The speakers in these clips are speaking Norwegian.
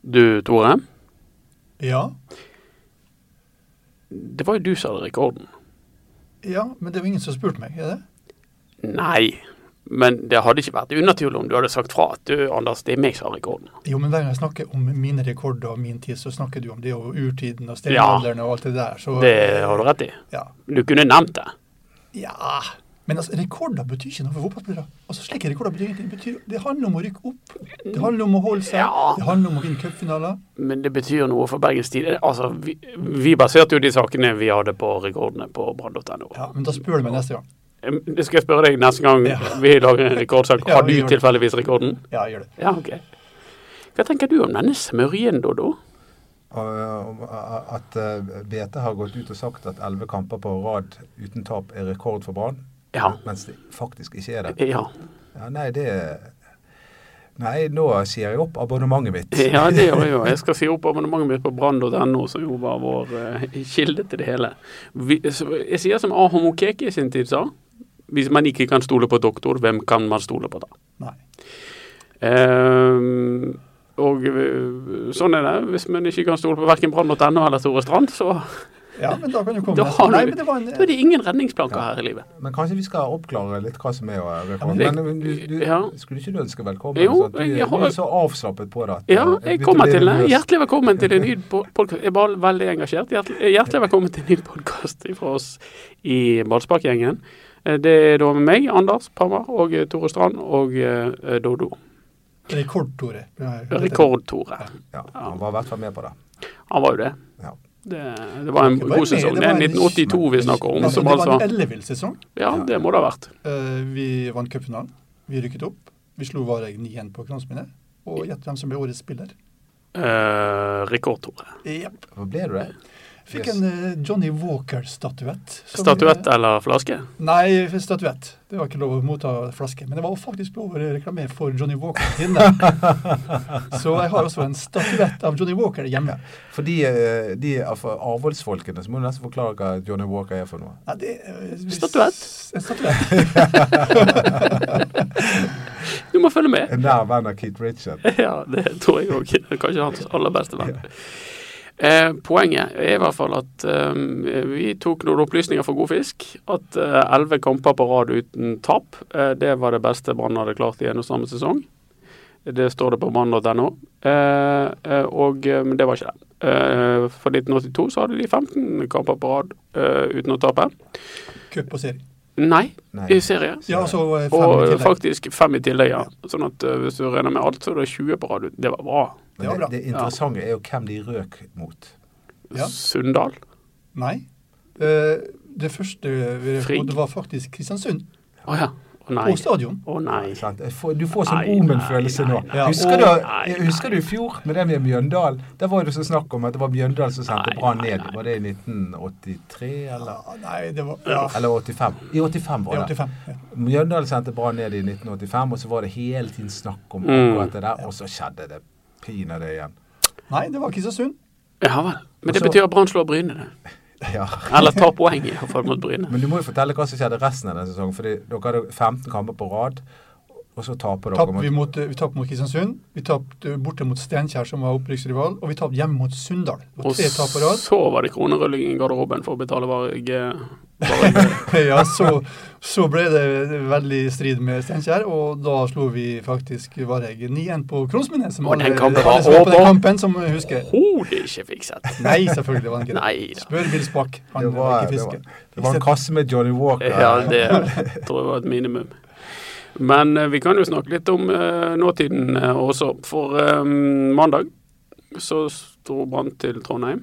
Du, Tore. Ja, Det var jo du som hadde rekorden. ja, men det er jo ingen som har spurt meg, er det? Nei, men det hadde ikke vært unaturlig om du hadde sagt fra at du, Anders, det er meg som har rekorden. Jo, men hver gang jeg snakker om mine rekorder og min tid, så snakker du om det og urtiden og steinalderen og alt det der. Så, Det har du rett i. Ja. Du kunne nevnt det. ja. Men altså, rekorder betyr ikke noe for fotballspillere. Altså, slike rekorder betyr ingenting. Det betyr- Det handler om å rykke opp. Det handler om å holde seg. Ja. Det handler om å vinne cupfinaler. Men det betyr noe for Bergens Tid. Altså, vi, vi baserte jo de sakene vi hadde på rekordene på brann.no. Ja, men da spør du meg neste gang. Em, Det skal jeg spørre deg neste gang Ja. vi lager en rekordsak. Ja, Har vi du gjør det. tilfeldigvis rekorden? Ja, jeg gjør det. Ja, ok. Hva tenker du om denne smørjen, Dodo? Og, og, at eh, BT har gått ut og sagt at elleve kamper på rad uten tap er rekord for Brann, Ja. mens det faktisk ikke er det. Ja, Ja, nei, det Nei, nå sier jeg opp abonnementet mitt. ja det gjør jeg jo. Jeg skal si opp abonnementet mitt på brann.no, som jo var vår eh, kilde til det hele. Vi, så jeg sier som Ahom Okeke i sin tid sa. Hvis man ikke kan stole på doktor, hvem kan man stole på da? Nei. Ehm, og eh, sånn er det. Hvis man ikke kan stole på verken brann.no eller Tore Strand, så Ja, men da kan du komme da, neste har gang. Nei, du, men det var en... eh, da er det ingen redningsplanker her i livet. Men kanskje vi skal oppklare litt hva som er eh, rekord. Ja, men- men du, du, Ja. skulle ikke du ønske velkommen? Jo, sånn at du, jeg har- du er så avslappet på det. at, eh, Ja, jeg begynte å kommer bli til det. nervøs. Hjertelig velkommen til en ny podkast. Jeg er bare veldig engasjert. Hjertelig, hjertelig velkommen til en ny podkast fra oss i Ballsparkgjengen. Eh, Det er da med meg, Anders Pammer, og eh, Tore Strand og eh, Dodo. Rekord, Tore. Ja, det- Rekord-Tore. Ja, han var i hvert fall med på det. Han var jo det. Ja. Det, det var en Det var en- god sesong. Det det var er en- 1982 vi snakker om, Altså, som det var altså en ellevill sesong. Ja, det må det ha vært. Eh, vi vant cupfinalen. Vi rykket opp. Vi slo Vareg 9-1 på Kransminnet. Og gjett hvem som ble årets spiller? Eh, Rekord-Tore. Jepp. Hva ble du det? Fikk Yes. en eh, Johnny Walker-statuett. som- eh, Statuett eller flaske? Nei, statuett. Det var ikke lov å motta flaske. Men det var faktisk lov å reklamere for Johnny Walker inne. Så jeg har også en statuett av Johnny Walker hjemme. For de, eh, de av- avholdsfolkene, så må du nesten forklare hva Johnny Walker er for noe. Nei, det, eh, hvis- Statuett? En statuett. Du må følge med. En nær venn av Keith Richard. Ja, det tror jeg òg. Kanskje hans aller beste venn. Eh, poenget er i hvert fall at eh, vi tok noen opplysninger for god fisk. At eh, elleve kamper på rad uten tap, eh, det var det beste Brann hadde klart i en og samme sesong. Det står det på brann.no. Eh, eh, og eh, men det var ikke det. Eh, for 1982 så hadde de 15 kamper på rad eh, uten å tape. Cup og serie. Nei, Nei. i serie. Ja, og så eh, fem i Og tillegg. faktisk fem i tillegg, ja. Sånn at eh, hvis du regner med alt, så er det 20 på rad. Det var bra. Men Det var bra. det, det interessante er jo hvem de røk mot. Ja. Sunndal. Nei. Eh, det første vi Frigg. rekorderte, var faktisk Kristiansund. Å ja. Å nei. På stadion. Å nei. Sant? Jeg får- Du får sånn Nei, omen-følelse nei, nå. nei, nei. Husker du, Nei, jeg husker du i fjor, med det med Mjøndalen? Der var det så snakk om at det var Mjøndalen som sendte Nei, Brann nei, ned. nei. Var det i 1983, eller? Ja, nei, det var ja, Eller 85? I 85 det er var det. 85. Ja. Mjøndalen sendte Brann ned i 1985, og så var det hele tiden snakk om Mm. akkurat det der, og så skjedde det pinadø igjen. Nei, det var Kristiansund. Ja vel. Men det Og så- betyr at Brann slår Bryne, det. Ja. Eller tar poeng, i hvert fall mot Bryne. Men du må jo fortelle hva som skjedde resten av den sesongen. Fordi dere hadde 15 kamper på rad, og så taper dere. Tapp, vi, mot, vi tapte mot Kristiansund. Vi tapte borte mot Steinkjer, som var opprykksrival. Og vi tapte hjemme mot Sunndal. Det var Og tre tap på rad. så var det kronerulling i garderoben for å betale Varg. eh, Varg. Ja, så, så ble det veldig strid med Steinkjer, og da slo vi faktisk Vareg 9-1 på Kronsminnet. Som Og den kampen alle som var på den over. kampen, som husker. Hodet ikke fikset. Nei, selvfølgelig var den ikke Neida. det. Spør Nils Bakk, han det, var, var ikke det, var, fisker. det var en kasse med Johnny Walker. Ja, det tror jeg var et minimum. Men eh, vi kan jo snakke litt om eh, nåtiden eh, også. For eh, mandag så dro Brann til Trondheim.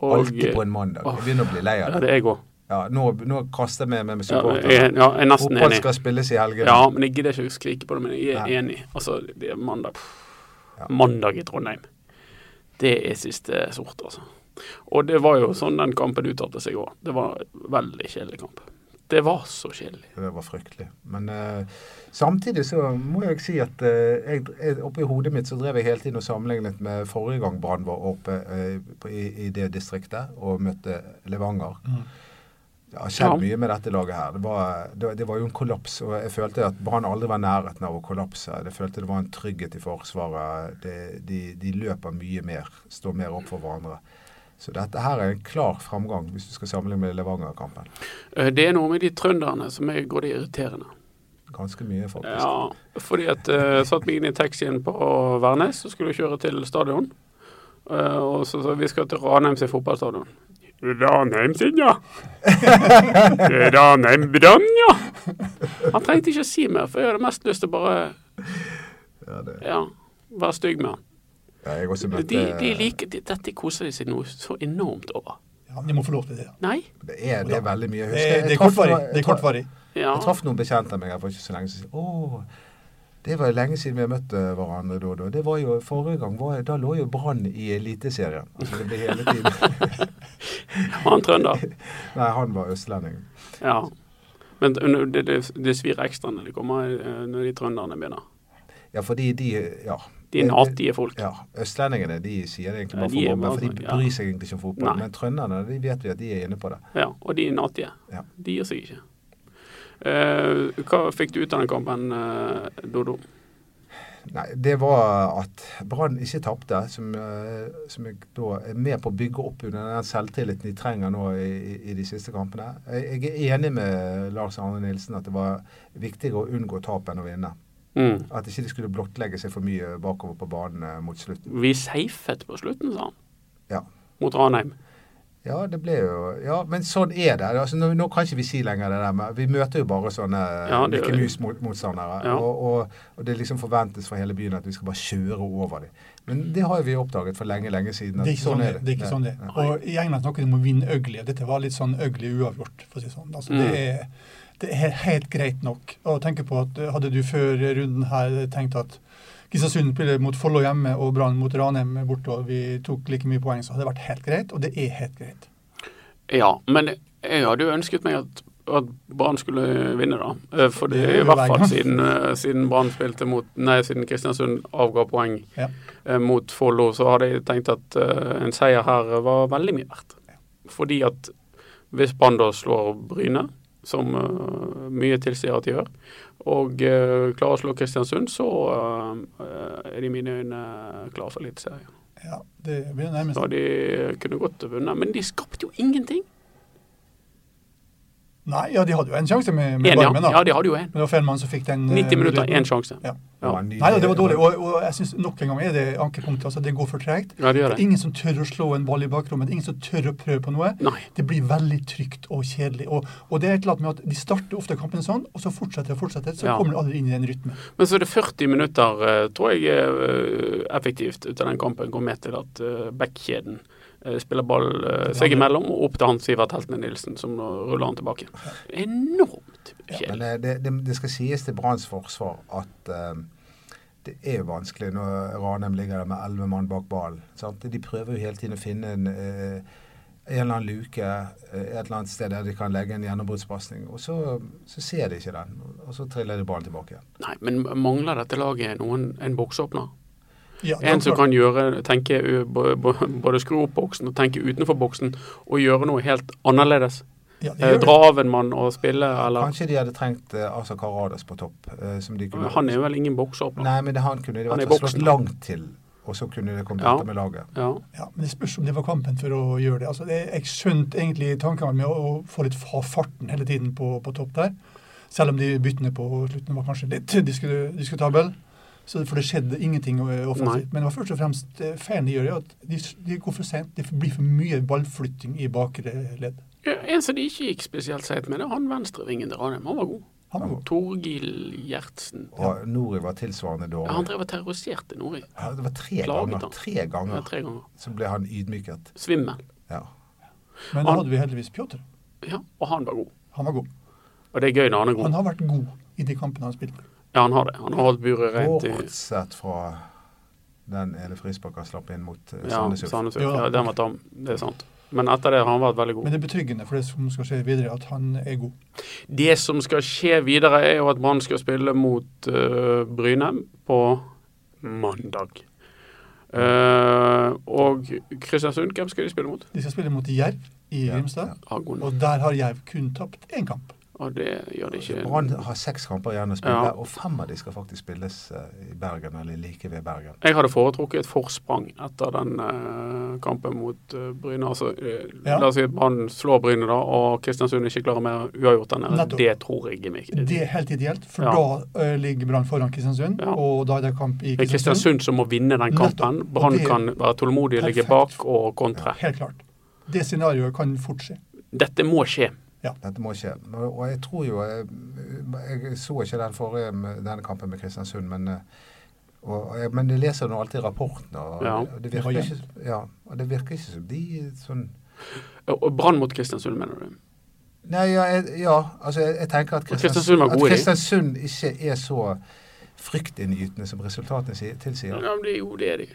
Alltid på en mandag. Åh. Jeg begynner å bli lei av Ja, det. det er jeg òg. Ja, nå, nå kaster jeg meg med med Ja, supporterne. jeg, ja, jeg er nesten Fotball enig. skal spilles i helgene. Ja, men jeg gidder ikke å skrike på det, men jeg er Nei. enig. Altså, det er mandag. Ja. Mandag i Trondheim. Det er siste sort, altså. Og det var jo sånn den kampen uttalte seg òg. Det var en veldig kjedelig kamp. Det var så kjedelig. Det var fryktelig. Men eh, samtidig så må jeg si at eh, jeg, jeg, oppi hodet mitt så drev jeg hele tiden og sammenlignet med forrige gang Brann var oppe eh, på, i, i det distriktet og møtte Levanger. Mhm. Det har skjedd mye med dette laget her. Det var, det, det var jo en kollaps. og Jeg følte at Brann aldri var i nærheten av å kollapse. Jeg følte det var en trygghet i Forsvaret. Det, de, de løper mye mer, står mer opp for hverandre. Så dette her er en klar framgang, hvis du skal sammenligne med Levanger-kampen. Eh, Det er noe med de trønderne som er grådig irriterende. Ganske mye, faktisk. Ja, fordi at uh, satt meg inn i taxien på Værnes og skulle kjøre til stadion. Eh, og så, så vi skal til Ranheim sin fotballstadion. Ranheim sin, ja. Ranheim Brann, ja. Han trengte ikke å si mer, for jeg hadde mest lyst til å bare Ja, det, ja, være stygg med han. ja, jeg også De, møtte, de liker, de, dette koser de seg noe så enormt over. Ja, de må få lov til det. Nei? Det er, det er veldig mye. Jeg Det, det er husker- jeg traff- kortvarig. jeg Det er traff- kortvarig. Ja. Jeg traff noen bekjente av meg her for ikke så lenge siden. Å, det var jo lenge siden vi har møtt eh, hverandre da. da. Det var jo, forrige gang var, da lå jo Brann i Eliteserien. Altså, det ble hele tiden. Han trønder. Nei, han var østlending. Ja. Men det, det, det svir ekstra når de kommer, eh, når de trønderne begynner. Ja, fordi de Ja. De natige folk. Ja, Østlendingene de sier det egentlig Ja, bare de er for mobber, for de bare- ja. bryr seg egentlig ikke om fotball. Nei. Men trønderne de vet vi at de er inne på det. Ja, og de er natige. Ja. De gir seg ikke. Eh, hva fikk du ut av den kampen, eh, Dodo? Nei, det var at Brann ikke tapte, som, eh, som jeg da er med på å bygge opp under den selvtilliten de trenger nå i, i- i de siste kampene. Jeg jeg er enig med Lars Arne Nilsen at det var viktigere å unngå tap enn å vinne. Mm. At ikke de skulle blottlegge seg for mye bakover på banen eh, mot slutten. Vi seifet på slutten, sa han. Ja. Mot Ranheim. Ja, det ble jo Ja, men sånn er det. Altså, nå, nå kan ikke vi si lenger det der med Vi møter jo bare sånne Ja, det Mikke gjør vi. Mus-motstandere. Ja. Og, og, og det liksom forventes fra hele byen at vi skal bare kjøre over dem. Men det har jo vi oppdaget for lenge, lenge siden. at Det er ikke sånn det er. Det er ikke Nei, sånn det. er. nei. Og I England snakker de om å vinne ugly, og dette var litt sånn ugly uavgjort. for å si det sånn. Altså, det, er, det er helt greit nok. Og tenke på at eh, Hadde du før runden her tenkt at Kristiansund spiller mot Follo hjemme og Brann mot Ranheim borte, og vi tok like mye poeng, så hadde det vært helt greit. Og det er helt greit. Ja, men jeg hadde jo ønsket meg at, at Brann skulle vinne, da. Eh, For det Det er i gjør hvert jeg. fall siden, eh, siden Brann spilte mot Nei, siden Kristiansund avga poeng Ja. eh, mot Follo, så hadde jeg tenkt at eh, en seier her var veldig mye verdt. Fordi at hvis Brann da slår Bryne, som eh, mye tilsier at de gjør, og eh, klarer å slå Kristiansund, så eh, er de i mine øyne klare for Eliteserien. Ja, det blir nærmest Så de kunne godt vunnet, men de skapte jo ingenting. Nei, ja, de hadde jo en sjanse med, med En, ja. Barmen, da. ja, de hadde jo en. Men det var Fellmann som fikk den. eh, 90 minutter, én muligheten. sjanse. Ja. Det var Ja. en ny- Nei, ja, det var dårlig. Og, og jeg synes nok en gang er det ankepunktet. altså Det går for tregt. ja, de gjør det. Ingen som tør å slå en ball i bakrommet. Ingen som tør å prøve på noe. Nei. Det blir veldig trygt og kjedelig. Og, og det er et eller annet med at De starter ofte kampen sånn, og så fortsetter og fortsetter. Så Ja. kommer de aldri inn i den rytmen. Men så er det 40 minutter, eh, tror jeg er eh, effektivt ut av den kampen, går med til at eh, backkjeden eh, spiller ball eh, seg imellom og opp til han Sivert Heltene Nilsen, som nå ruller han tilbake. Enormt Men kjedelig. eh, det, det, det skal sies til Branns forsvar at eh, det er jo vanskelig når Ranheim ligger der med elleve mann bak ballen. sant? De prøver jo hele tiden å finne en, eh, en eller annen luke eh, et eller annet sted der de kan legge en gjennombruddspasning. Og så, så ser de ikke den, og så triller de ballen tilbake igjen. Nei, men mangler dette laget noen en boksåpner? Ja, det er En som klart. kan gjøre, tenke ø, bo- bo- både skru opp boksen og tenke utenfor boksen og gjøre noe helt annerledes? ja, det Eh, gjør det. Dra av en mann og spille, eller? Kanskje de hadde trengt eh, Asa Karadas på topp. eh, som de kunne... Han er vel ingen boksåpner? Nei, men det, han kunne de Han er vært i slått boksen. langt til, og så kunne de kommet Ja. etter med laget. Ja. Ja, men det spørs om det var kampen for å gjøre det. Altså, det jeg skjønte egentlig tanken med å, å få litt fa- farten hele tiden på, på topp der. Selv om de byttene på slutten var kanskje litt disku- diskutable. Så, for det skjedde ingenting eh, offensivt. Men det var først og fremst eh, feilen de gjør, er at de, de går for sent. Det blir for mye ballflytting i bakre ledd. Ja, En som de ikke gikk spesielt seigt med, det er han venstrevingen til Ranheim. Han var god. Han var god. Torgil Gjertsen. Og Nori var tilsvarende Ja, han dårlig. drev og terroriserte Nori Ja, det var tre Plaget ganger. han. Tre ja, ganger tre ganger. så ble han ydmyket. Svimmel. Ja. Men da Han- hadde vi heldigvis Pjotr. Ja, og han var god. Han var god. Og det er gøy når han er god. Han har vært god i de kampene han spilte. Ja, han har det. Han har holdt buret rent i Bortsett fra den ene frisparken slapp inn mot eh, ja, Sandnes Ulf. Sandnes Ulf. Jo da. Ja, den var tam. Det er sant. Men etter det har han vært veldig god. Men det er betryggende for det som skal skje videre, at han er god. Det som skal skje videre, er jo at Brann skal spille mot eh, Bryne på mandag. Eh, og Kristiansund, hvem skal de spille mot? De skal spille mot Jerv i Ja, Grimstad, Agon. og der har Jerv kun tapt én kamp. Og det gjør de ikke. Brann har seks kamper igjen å spille, Ja. og fem av de skal faktisk spilles eh, i Bergen, eller like ved Bergen. Jeg hadde foretrukket et forsprang etter den eh, kampen mot eh, Bryne. Altså, eh, Ja. La oss si at Brann slår Bryne, da, og Kristiansund ikke klarer mer uavgjort enn det. Nettopp. Det tror jeg ikke. Det er helt ideelt, for Ja. da eh, ligger Brann foran Kristiansund, Ja. og da er det kamp i Det er Kristiansund. Kristiansund som må vinne den kampen. Nettopp. Og Brann det- kan være tålmodig, ligge bak Perfekt. og kontre. Helt klart. Det scenarioet kan fort skje. Dette må skje. Dette må skje. Og- Og jeg tror jo Jeg, jeg så ikke den forrige denne kampen med Kristiansund, men eh, og, og jeg, men jeg leser nå alltid rapportene, og, Ja. og det Det virker var ikke, ja, og det virker ikke som de sånn Og Brann mot Kristiansund, mener du? Nei, ja, jeg, ja altså jeg, jeg tenker at Kristiansund Kristiansund, var at gode, de. Kristiansund ikke er så fryktinngytende som resultatene sier- tilsier. Ja, men det, jo, det er de.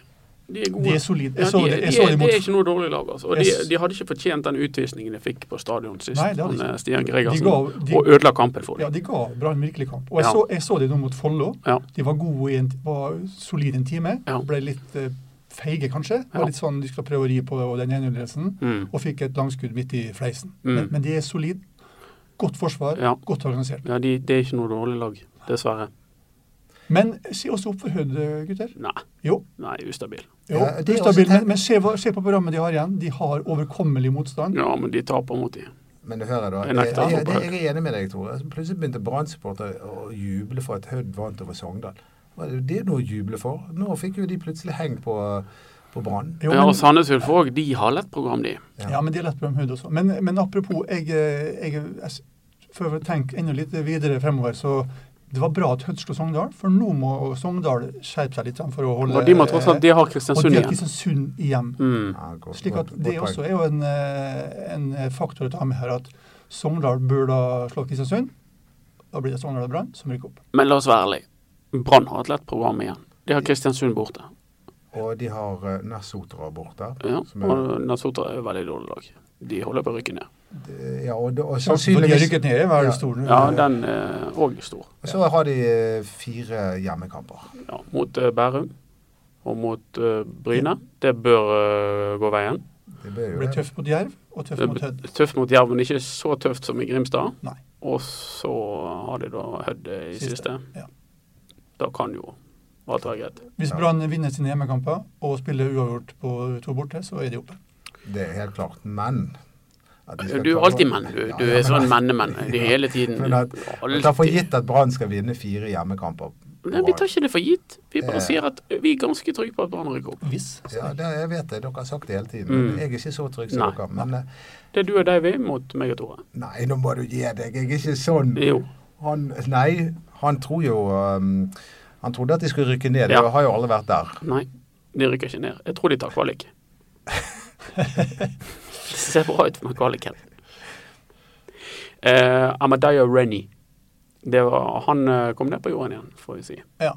De er gode. De er solide. Ja, Jeg så de, det, de, jeg så er- det det er mot ikke noe dårlig lag. altså. Og de, Jeg s- de hadde ikke fortjent den utvisningen de fikk på stadion sist, Nei, det hadde han, de ikke. eh, Stian de Gregersen, ga, de, og ødela kampen for ja, dem. de ga Brann virkelig kamp. Og jeg, Ja. så, jeg så det nå mot Follo. Ja. De var gode i en, var solide en time. Ja. Ble litt eh, feige, kanskje. Det Ja. Var litt sånn de skulle prøve å ri på den ene ledelsen. Mm. Og fikk et langskudd midt i fleisen. Mm. Men, men de er solide. Godt forsvar, Ja. godt organisert. Ja, de, det er ikke noe dårlig lag, dessverre. Men se også opp for Hødd, gutter. Nei, Jo. nei ustabil. jo. Ja, det er også ustabil, tegn- men, men se, hva- se på programmet de har igjen. De har overkommelig motstand. Ja, men de taper mot de. Men du hører da, Jeg jeg, nekter å jeg, tro jeg, på det. er enig med deg, Tore. Altså, Plutselig begynte Brann-supportere å juble for at Hødd vant over Sogndal. Hva er det noe å juble for? Nå fikk jo de plutselig heng på, på Brann. Jo, ja, altså, men- og Sandnes Ulf òg, de har lett program, de. Ja. Ja, men det er lett med hud også. Men, men apropos, jeg, eh, jeg, jeg s- for å tenke enda litt videre fremover, så det var bra at Hødd slo Sogndal, for nå må Sogndal skjerpe seg litt sånn, for å holde Og de må tross alt, de har eh, og de Kristiansund har igjen. Kristiansund igjen. Mm. Ja, godt- Slik at godt- det godt poeng. også er jo en, eh, en faktor å ta med her, at Sogndal bør da slå Kristiansund. Da blir det Sogndal og Brann som rykker opp. Men la oss være ærlige. Brann har et lett program igjen. De har Kristiansund borte. Og de har uh, Nassotra borte. Ja, som er, og Nasotra er et veldig dårlig lag. De holder på å rykke ned. det- ja, og, det- og Sjansen for de har sannsynligvis rykket ned, hva er Ja. det store? Ja, den er òg stor. Og så har de eh, fire hjemmekamper. Ja, mot eh, Bærum og mot eh, Bryne. Det bør eh, gå veien. Det bør Det jo ble det. tøft mot Jerv, og tøft mot Hødd. Tøft mot Jerv, men ikke så tøft som i Grimstad. Nei. Og så har de da Hødd eh, i Siste, siste. ja. Da kan jo alt være greit. Hvis Ja. Brann vinner sine hjemmekamper og spiller uavgjort på to borte, så er de oppe. Det er helt klart. Men at de skal Du er klare- alltid menn, du. Ja, Du ja, er men- sånn mennemenn Du er hele tiden. Men at- Alltid. Ta for gitt at Brann skal vinne fire hjemmekamper. på Nei, vi rad. tar ikke det for gitt. Vi Eh. bare sier at vi er ganske trygge på at Brann rykker opp. Hvis. Ja, det, jeg vet det. Dere har sagt det hele tiden. Sånn. Mm. Men jeg er ikke så trygg som Nei. dere. Men eh, Det er du og Davy mot meg og Tore. nei, nå må du gi deg. Jeg er ikke sånn. Jo. Han, nei, han tror jo um, Han trodde at de skulle rykke ned. Ja. Det har jo alle vært der. Nei, de rykker ikke ned. Jeg tror de tar kvalik. det ser bra ut med kvaliken. Eh, Amadaya Rennie. Det var, han eh, kom ned på jorden igjen, får vi si. Ja.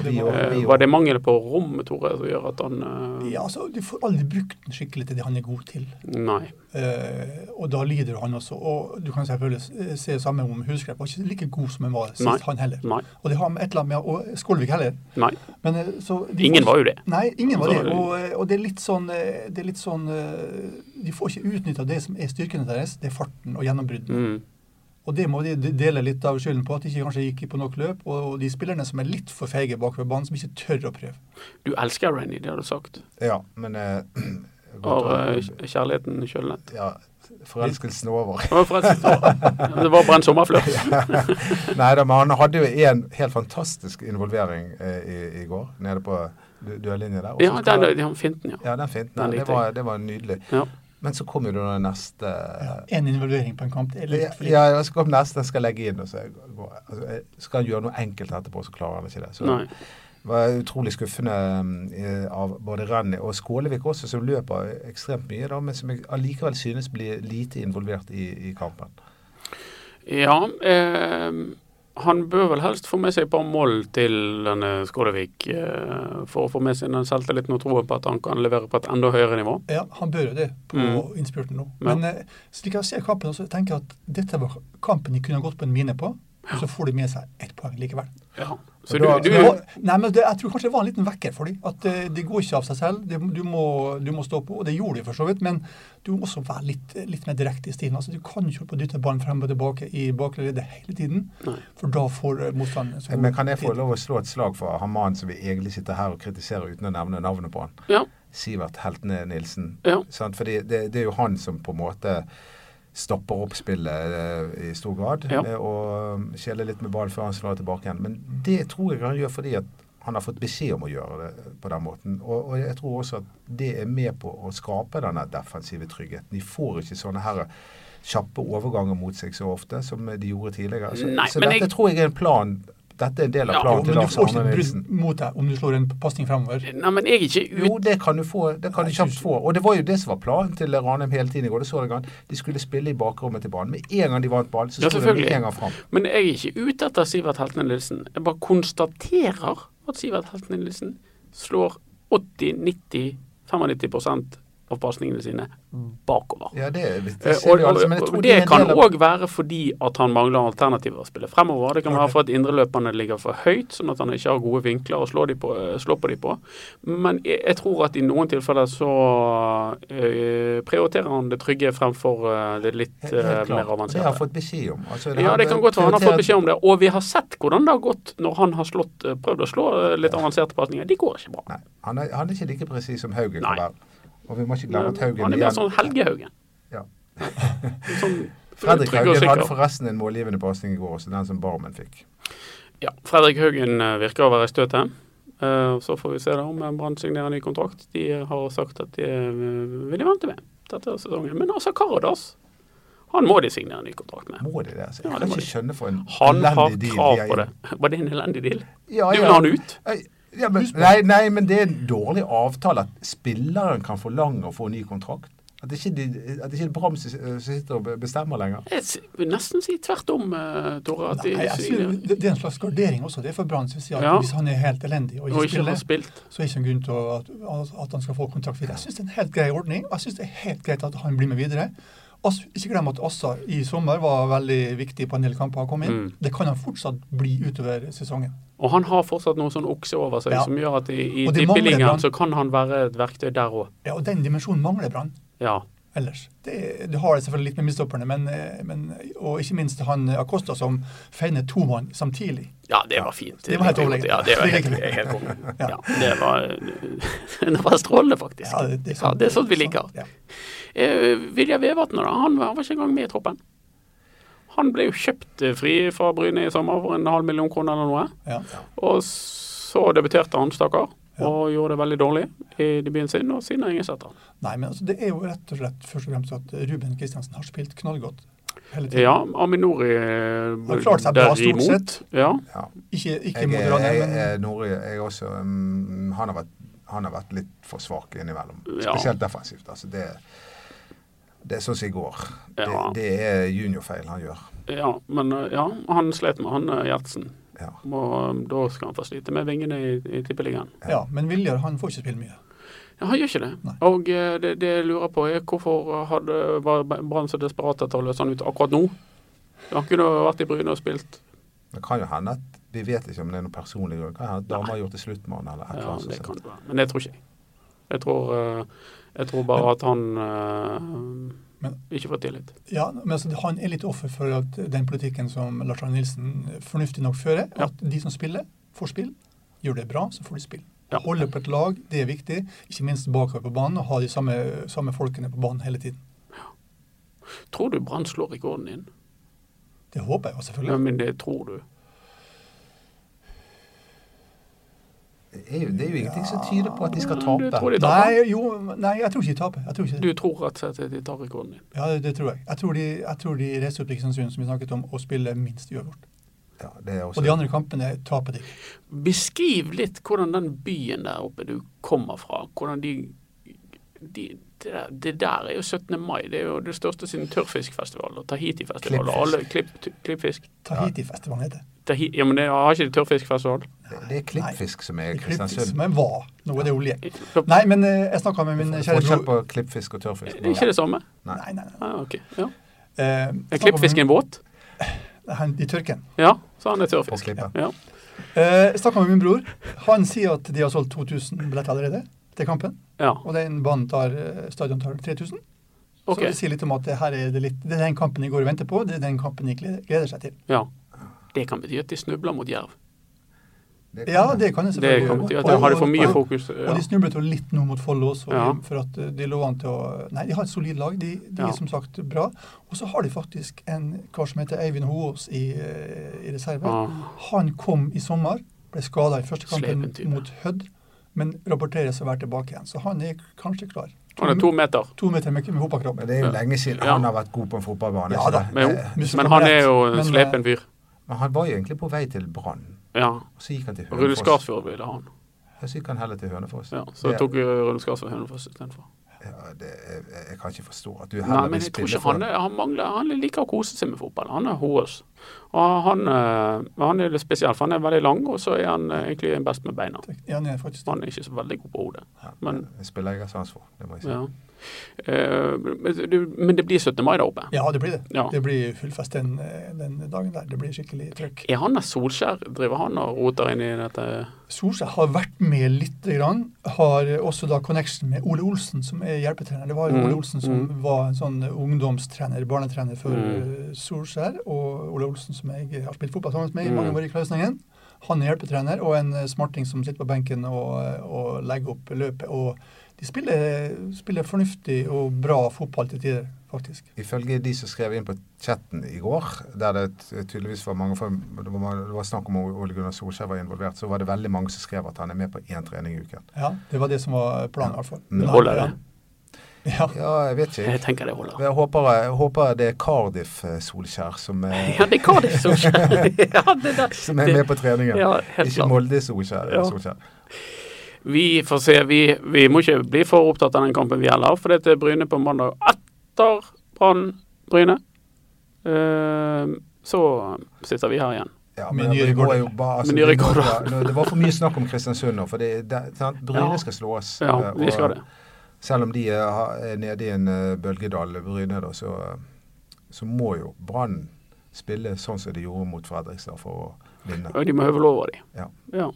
Og Det vi må- og- Eh, vi var og- det mangel på rom, Tore, som gjør at han eh, ja, altså, Du får aldri brukt den skikkelig til det han er god til. Nei. Eh, og da lider han også. Og du kan selvfølgelig s- eh, se samme om Husgrep. Var ikke like god som han var sist, Nei. han heller. Nei. Og det har med et eller annet med Og Skolvik heller. nei. Men, eh, så de Ingen får- var jo det. Nei, ingen var Så- det. Og, eh, og det er litt sånn, eh, det er litt sånn eh, De får ikke utnytta det som er styrkene deres. Det er farten og gjennombruddene. Mm. Og det må de de dele litt av skylden på, at de ikke kanskje gikk på nok løp. Og de spillerne som er litt for feige bakover banen, som ikke tør å prøve. Du elsker Rennie, det har du sagt. Ja, men eh, Har eh, godt, kj- kjærligheten kjølnet. ja, Forelskelsen over. Det var forresten Det var brent sommerflørt. Nei da, men han hadde jo en helt fantastisk involvering eh, i, i går, nede på du- duellinjen der. Og så Ja, skal- den, den finten, ja. ja, den finten. Den der. Det likte jeg. var, det var nydelig. Ja. Men så kom jo da den neste Én involvering på en kamp det er litt for lite. Ja, ja, så kom neste, den skal legge inn. Og så går, altså, jeg skal han gjøre noe enkelt etterpå, så klarer han ikke det. Så Nei. det var utrolig skuffende eh, av både Renny og Skålevik også, som løper ekstremt mye, da, men som jeg allikevel synes blir lite involvert i, i kampen. Ja, eh, han bør vel helst få med seg et par mål til denne Skålevik. Eh, for å få med seg den selvtilliten og troen på at han kan levere på et enda høyere nivå. Ja, han bør jo det på Mm. innspurten nå. Ja. Men eh, slik jeg ser kampen, så tenker jeg at dette var kampen de kunne ha gått på en mine på. Og så får de med seg ett poeng likevel. Ja. Og Så du, da- du, Ja, nei, men det, Jeg tror kanskje det var en liten vekker for dem. At eh, det går ikke av seg selv. Det, du, må, du må stå på. Og det gjorde de for så vidt. Men du må også være litt, litt mer direkte i stilen. Altså, Du kan ikke holde på å dytte ballen frem og tilbake i bakleddet hele tiden. Nei. For da får eh, motstanderen så Men kan jeg få tid. lov å slå et slag for Haman, som vi egentlig sitter her og kritiserer uten å nevne navnet på han? ja, Sivert Heltene Nilsen. Ja. Sant? Fordi det, det er jo han som på en måte stopper opp spillet eh, i stor grad. Ja. eh, Og skjeler litt med ballen før han slår tilbake igjen. Men det tror jeg han gjør fordi at han har fått beskjed om å gjøre det eh, på den måten. Og, og jeg tror også at det er med på å skape denne defensive tryggheten. De får ikke sånne her kjappe overganger mot seg så ofte som de gjorde tidligere. Så, Nei, så men dette jeg- tror jeg er en plan. Dette er en del av Ja, Jo, planen til men du Lars får ikke Arne et Nilsen. brudd mot deg om du slår en pasning fremover. Nei, men jeg er ikke ute Jo, det kan du få. Det kan du kjapt få. Og det var jo det som var planen til Ranheim hele tiden i går. Det så jeg gang. De skulle spille i bakrommet til banen. Med en gang de vant ballen, så Ja, sto de med selvfølgelig. en gang fram. Men jeg er ikke ute etter Sivert Heltene Nilsen. Jeg bare konstaterer at Sivert Heltene Nilsen slår 80-90-95 av pasningene sine bakover. Ja, det, det, Eh, ser og, vi alle, men jeg tror og er det en kan del av- òg være fordi at han mangler alternativer å spille fremover. Det kan være for at indreløperne ligger for høyt, sånn at han ikke har gode vinkler å slå, de på, eh, slå på de på. Men jeg, jeg tror at i noen tilfeller så eh, prioriterer han det trygge fremfor eh, det litt Helt eh, klart. mer Det har avanserte. jeg fått beskjed om. Altså, Ja, her det kan med godt være han har fått prioritert- beskjed om det. Og vi har sett hvordan det har gått når han har slått, eh, prøvd å slå eh, litt avanserte pasninger. De går ikke bra. Nei, han er, han er ikke like presis som Haugen Nei. kan være. Og vi må ikke glemme at Haugen Han er mer igjen- sånn Helgehaugen. Ja. Sånn Fredrik trygg og Haugen hadde sikker. forresten en målgivende pasning i går, også den som Barmen fikk. Ja, Fredrik Haugen eh, virker å være i støtet. Eh, Så får vi se da om eh, Brann signerer ny kontrakt. De har sagt at de eh, vil de vente med dette sesongen. Men altså Karadas, han må de signere ny kontrakt med. Må de det? Altså, Ja, det jeg kan må ikke de. skjønne for en Han har elendig deal de krav har på det. gjort. Var det en elendig deal? Ja, Du ja. vil ha han ut? Ei, Ja, men, nei, nei, men det er en dårlig avtale at spilleren kan forlange å få ny kontrakt. At det ikke de- at det ikke er Brams som som sitter og be- bestemmer lenger. Jeg s- vil nesten si tvert om, eh, Tore. At de Nei, jeg signerer. synes, det, det er en slags gardering også. Det er for Brann sin side. at Ja. Hvis han er helt elendig Og og ikke ikke har spiller, spilt. så er det ikke noen grunn til å- at, at han skal få kontrakt videre. Jeg syns det er en helt grei ordning, og jeg syns det er helt greit at han blir med videre. Ass- ikke glem at Assa i sommer var veldig viktig på en del kamper han kom inn. Mm. Det kan han fortsatt bli utover sesongen. Og han har fortsatt noe sånn okse over seg Ja. som gjør at i, i Og det mangler tippelingen blant- så kan han være et verktøy der òg. Ja, og den dimensjonen mangler Brann Ja. ellers. Det, det har det selvfølgelig litt med midtstopperne, men, eh, men, og ikke minst han eh, Acosta som feiner to mann samtidig. ja, det var fint. Det var helt overlegent. Ja, det var helt, Det er helt konge. Ja. Ja, det var, det var strålende, faktisk. Ja, det, sånn- Ja, det er sånt vi liker. Ja. Eh, Vilja Vevatnet, da. Han var han var ikke engang med i troppen. Han ble jo kjøpt eh, fri fra Bryne i sommer for en halv million kroner eller noe. Ja. Og så debuterte han, stakkar, og gjorde det veldig dårlig i debuten sin, og siden har ingen sett han. Nei, men altså, det er jo rett og slett først og fremst at Ruben Kristiansen har spilt knallgodt hele tiden. Ja, Aminori eh, Han klarte seg bra stort sett. Ja. Ja. Ikke, ikke Jeg, mot er- jeg, Ranheim, men er Nore, jeg er også mm, han, har vært, han har vært litt for svak innimellom. Ja. Spesielt defensivt. Altså det, det er sånn som i går. Det, Ja. det er juniorfeil han gjør. Ja, men eh, ja, han slet med han eh, Gjertsen. Ja. Og eh, da skal han få slite med vingene i, i tippeligaen. Ja, men Viljar han får ikke spille mye. Ja, han gjør ikke det. Nei. Og eh, det, det jeg lurer på er hvorfor hadde, var Brann så desperat etter å løse han ut akkurat nå? Han kunne vært i Bryne og spilt. Det kan jo hende at vi vet ikke om det er noen personlig grunn. Kan hende at damer har gjort det slutt med han eller et eller Ja, annet. det sånt. kan det være. Men det tror ikke jeg. Jeg tror, eh, jeg tror bare at han eh, Men- ikke får tillit. Ja, men altså, Han er litt offer for at den politikken som Lars Arne Nilsen fornuftig nok fører. Ja. At de som spiller, får spill. Gjør det bra, så får de spill. Ja. Holde på et lag, det er viktig. Ikke minst bakover på banen, og ha de samme, samme folkene på banen hele tiden. Tror du Brann slår rekorden din? Det håper jeg jo selvfølgelig. Ja, men det tror du. Det er jo, det er jo ingenting som tyder på at de skal tape. Du tror de taper? Nei, jo, nei, jeg tror ikke de taper. Jeg tror ikke Du det. tror rett og slett at de tar rekorden din? Ja, det, det tror jeg. Jeg tror de, jeg tror de reiser opp til Kristiansund, som vi snakket om, og spiller minst uavgjort. Ja, det er også, Og de andre kampene taper de. Beskriv litt hvordan den byen der oppe du kommer fra, hvordan de, de det, der, det der er jo 17. mai, det er jo det største siden tørrfiskfestivalen og Tahiti-festivalen. og Alle klipp, klippfisk. Tahiti-festivalen heter det. Tahi, ja, men det, har ikke de tørrfiskfestival? det, det er klippfisk som er i Kristiansund. Som jeg var. Nå er det olje. Er Nei, men eh, jeg snakka med min kjære Forskjell bror på klippfisk og tørrfisk. det ikke det samme? Nei. Nei, nei, nei. Ah, ok. ja. Eh, Er klippfisk en båt? snakket med min- Han, I tørken. Ja, så han er På tørrfisk. klippet. Ja. Eh, Jeg snakka med min bror. Han sier at de har solgt 2000 billetter allerede til kampen. Ja, Og den banen tar eh, stadion tar 3000. ok. Så det sier litt om at det her er det litt Det er den kampen de går og venter på. Det er den kampen de gleder gleder seg til. Ja. Det kan bety at de snubler mot Jerv. Det Ja, kan det kan Det jeg selvfølgelig kan gjøre. bety at de har det for mye og, fokus. og, og Ja. de snublet jo litt nå mot Follo også, Ja. for at eh, de lå an til å Nei, de har et solid lag. De, de Ja. er som sagt bra. Og så har de faktisk en kar som heter Eivind Hoaas i, eh, i reserve. Ah, Han kom i sommer, ble skada i første kampen Slepen type. mot Hødd, men rapporteres å være tilbake igjen. Så han er kanskje klar. Han er to meter. To meter med, med hopa kropp. Men det er jo lenge siden Ja. han har vært god på en fotballbane. Ja så da, det- Men, eh, jo, men han er jo en Men, eh, slepen fyr. men han var jo egentlig på vei til Brann. Ja. og Så gikk han til Rune Hønefoss. Skarsfjord ville ha han. Ja, så gikk han heller til Hønefoss. Ja, så Det- tok eh, jo Rune Skarsfjord Hønefoss istedenfor. ja, det, jeg, jeg kan ikke forstå at du heller Nei, men vil jeg tror spille ikke for han, er, han mangler Han liker å kose seg med fotball. Han er HS. Og han, eh, han er litt spesiell, for han er veldig lang, og så er han eh, egentlig best med beina. Ja, han er faktisk Han er ikke så veldig god på hodet. Ja, men- det spiller jeg har sans for, det må jeg si. Ja. Eh, men, du- men det blir 17. mai der oppe. Ja, det blir det. Ja. Det blir full fest den, eh, den dagen der. Det blir skikkelig trøkk. Er han der Solskjær? Driver han og roter inn i dette Solskjær har vært med lite grann. Har eh, også da connection med Ole Olsen, som er hjelpetrener. Det var jo Mm, Ole Olsen som var en sånn ungdomstrener, barnetrener for Mm. eh, Solskjær. Og Ole Olsen, som jeg har spilt fotball sammen med i Mm. mange år i Klausningen. Han er hjelpetrener, og en eh, smarting som sitter på benken og, eh, og legger opp løpet. Og de spiller, spiller fornuftig og bra fotball til tider, faktisk. Ifølge de som skrev inn på chatten i går, der det ty- tydeligvis var mange for, det, var, mange- det var snakk om Ole Gunnar Solskjær var involvert, så var det veldig mange som skrev at han er med på én trening i uken. Ja, Det var det som var planen, i hvert fall. Mm. Men han- Holder det? Ja. Ja, jeg vet Jeg ikke. tenker det holder. Jeg håper, jeg håper det er Cardiff-Solskjær som, er- Ja, det er Cardiff Solskjær. Ja, det der. som er med på treningen. Ja, helt Ikke klart. Molde-Solskjær. Ja. Solskjær. Vi får se. Vi, vi må ikke bli for opptatt av den kampen vi heller, for dette er Bryne på mandag etter Brann Bryne. Eh, så sitter vi her igjen. Ja, Med men nye vi må rekorder. jo bare- altså, Med nye vi må- rekorder. ja, nå- Det var for mye snakk om Kristiansund nå, for det, det, sant? Bryne Ja. skal slås. eh, Ja, og vi skal det. Selv om de eh, har- er nede i en eh, bølgedal, Bryne, da, så, eh, så må jo Brann spille sånn som de gjorde mot Fredrikstad for å vinne. Og de må høve over de. Ja. Ja.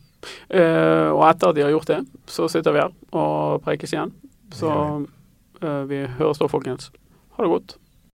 Eh, og etter at de har gjort det, så sitter vi her og preikes igjen. Så eh, vi høres da, folkens. Ha det godt.